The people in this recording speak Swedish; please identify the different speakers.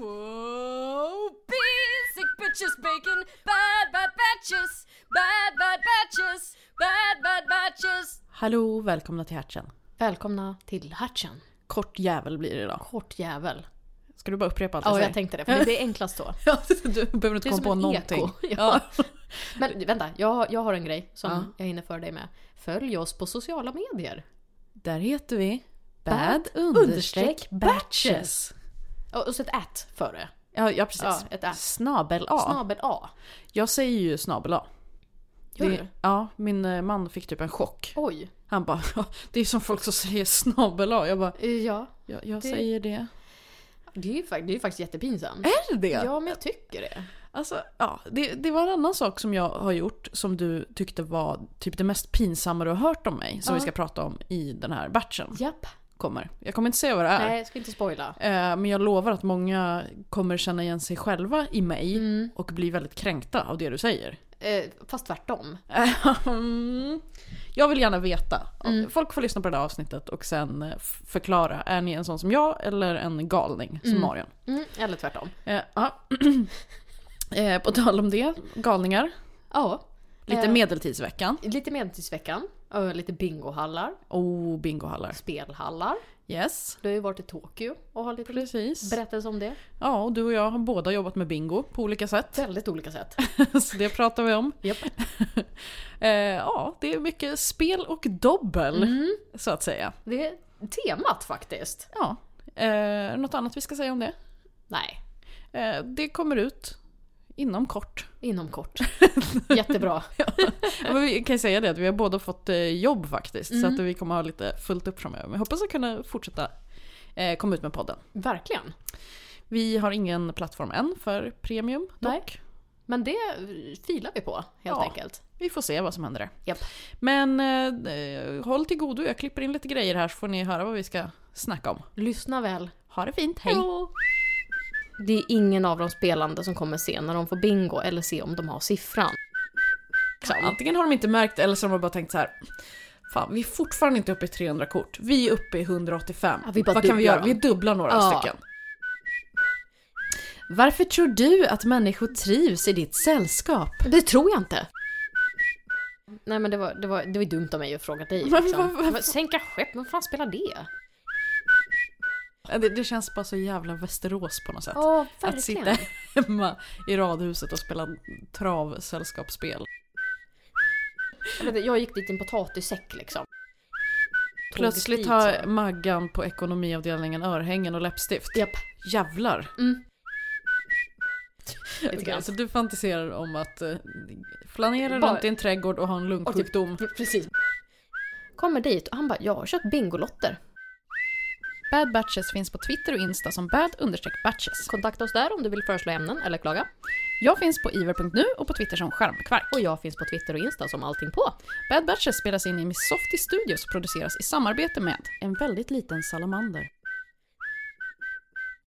Speaker 1: Oh, sandwiches, bacon, bad bad batches, bad bad batches, bad bad batches.
Speaker 2: Hallå, välkomna till Hertzen.
Speaker 3: Välkomna till Hertzen.
Speaker 2: Kort jävel blir det idag.
Speaker 3: Kort jävel.
Speaker 2: Ska du bara upprepa allt
Speaker 3: Ja, jag
Speaker 2: säger?
Speaker 3: tänkte det. För det är enklast så.
Speaker 2: Ja, du behöver inte
Speaker 3: Det är
Speaker 2: komma
Speaker 3: som
Speaker 2: på
Speaker 3: ett
Speaker 2: någonting.
Speaker 3: eko. Ja. Men vänta, jag, jag har en grej som
Speaker 2: Ja.
Speaker 3: jag hinner för dig med. Följ oss på sociala medier.
Speaker 2: Där heter vi
Speaker 3: Bad
Speaker 2: bad understreck batches.
Speaker 3: batches. Och, och så ett at före.
Speaker 2: Ja, ja
Speaker 3: Ja,
Speaker 2: precis.
Speaker 3: ett at.
Speaker 2: Snabel A.
Speaker 3: Snabel A.
Speaker 2: Jag säger ju snabel A.
Speaker 3: Gör
Speaker 2: Det-
Speaker 3: du?
Speaker 2: Ja, min eh, man fick typ en chock.
Speaker 3: Oj.
Speaker 2: Han bara, "Ja, det är som folk som säger snabel A. Jag bara,
Speaker 3: Eh, Ja.
Speaker 2: jag, jag
Speaker 3: Det-
Speaker 2: säger det.
Speaker 3: Det är ju, fakt- det är ju faktiskt jättepinsamt.
Speaker 2: Är det det?
Speaker 3: Ja, men jag tycker det.
Speaker 2: Alltså, ja, det, det var en annan sak som jag har gjort som du tyckte var typ det mest pinsamma du har hört om mig. Som
Speaker 3: Ja.
Speaker 2: vi ska prata om i den här batchen.
Speaker 3: Japp.
Speaker 2: Kommer. Jag kommer inte säga vad det är.
Speaker 3: Nej, jag ska inte spoila.
Speaker 2: Eh, Men jag lovar att många kommer känna igen sig själva i mig
Speaker 3: Mm.
Speaker 2: och bli väldigt kränkta av det du säger.
Speaker 3: Eh, fast tvärtom.
Speaker 2: Mm. jag vill gärna veta.
Speaker 3: Mm.
Speaker 2: Folk får lyssna på det här avsnittet och sen eh, f- förklara. Är ni en sån som jag eller en galning som Marion?
Speaker 3: Mm, eller tvärtom.
Speaker 2: Eh, ja. Eh, på tal om det, galningar.
Speaker 3: Ja.
Speaker 2: Lite
Speaker 3: Eh.
Speaker 2: medeltidsveckan.
Speaker 3: Lite medeltidsveckan. eh, Lite bingohallar.
Speaker 2: Oh, bingohallar.
Speaker 3: Spelhallar.
Speaker 2: Yes.
Speaker 3: Du har ju varit i Tokyo och har lite
Speaker 2: Precis.
Speaker 3: berättelse om det.
Speaker 2: Ja, och du och jag har båda jobbat med bingo på olika sätt.
Speaker 3: Väldigt olika sätt.
Speaker 2: Så det pratar vi om.
Speaker 3: Japp.
Speaker 2: Eh, ja, det är mycket spel och dobbel, så att säga.
Speaker 3: Det är temat faktiskt.
Speaker 2: Ja. Eh, något annat vi ska säga om det?
Speaker 3: Nej,
Speaker 2: Eh, det kommer ut inom kort.
Speaker 3: inom kort. Jättebra.
Speaker 2: Ja, men vi kan ju säga det att vi har båda fått eh, jobb faktiskt, så att vi kommer ha lite fullt upp framöver. Men jag hoppas att kunna fortsätta eh, komma ut med podden.
Speaker 3: Verkligen.
Speaker 2: Vi har ingen plattform än för premium dock.
Speaker 3: Nej. Men det filar vi på helt
Speaker 2: Ja.
Speaker 3: enkelt.
Speaker 2: Vi får se vad som händer där.
Speaker 3: Japp.
Speaker 2: Men eh, eh, håll till godo, jag klipper in lite grejer här så får ni höra vad vi ska snacka om.
Speaker 3: Lyssna väl.
Speaker 2: Ha det fint, hej!
Speaker 3: Hallå. Det är ingen av de spelande som kommer se när de får bingo eller se om de har siffran. Liksom.
Speaker 2: Antingen har de inte märkt eller så har de bara tänkt så här. Fan, vi är fortfarande inte uppe i 300 kort. Vi är uppe i 185.
Speaker 3: Ja, vi bara
Speaker 2: Vad kan vi
Speaker 3: dubblar
Speaker 2: göra?
Speaker 3: dem.
Speaker 2: Vi dubblar några
Speaker 3: Ja.
Speaker 2: stycken. Varför tror du att människor trivs i ditt sällskap?
Speaker 3: Det tror jag inte. Nej men det var, det var, det var ju dumt av mig att fråga dig.
Speaker 2: Men
Speaker 3: Liksom.
Speaker 2: vad- vad-
Speaker 3: Men Sänka skepp, men vad fan spelar det?
Speaker 2: Det, det känns bara så jävla Västerås på något sätt.
Speaker 3: Ja,
Speaker 2: att sitta hemma i radhuset och spela travsällskapsspel.
Speaker 3: Jag, vet, inte, jag gick dit i en potatissäck liksom. Tog
Speaker 2: Plötsligt
Speaker 3: dit,
Speaker 2: har
Speaker 3: så.
Speaker 2: Maggan på ekonomiavdelningen örhängen och läppstift.
Speaker 3: Japp,
Speaker 2: Jävlar!
Speaker 3: lite
Speaker 2: Okay,
Speaker 3: grann.
Speaker 2: så du fantiserar om att eh, flanera
Speaker 3: Bara-
Speaker 2: runt i en trädgård och ha en
Speaker 3: Och typ,
Speaker 2: lungsjukdom.
Speaker 3: precis. Kommer dit och han bara, jag har köpt bingolotter.
Speaker 2: Bad Batches finns på Twitter och Insta som bad batches.
Speaker 3: Kontakta oss där om du vill föreslå ämnen eller klaga.
Speaker 2: Jag finns på iver.nu och på Twitter som skärmkvark.
Speaker 3: Och jag finns på Twitter och Insta som allting på.
Speaker 2: Bad Batches spelas in i Missofty Studios och produceras i samarbete med en väldigt liten salamander.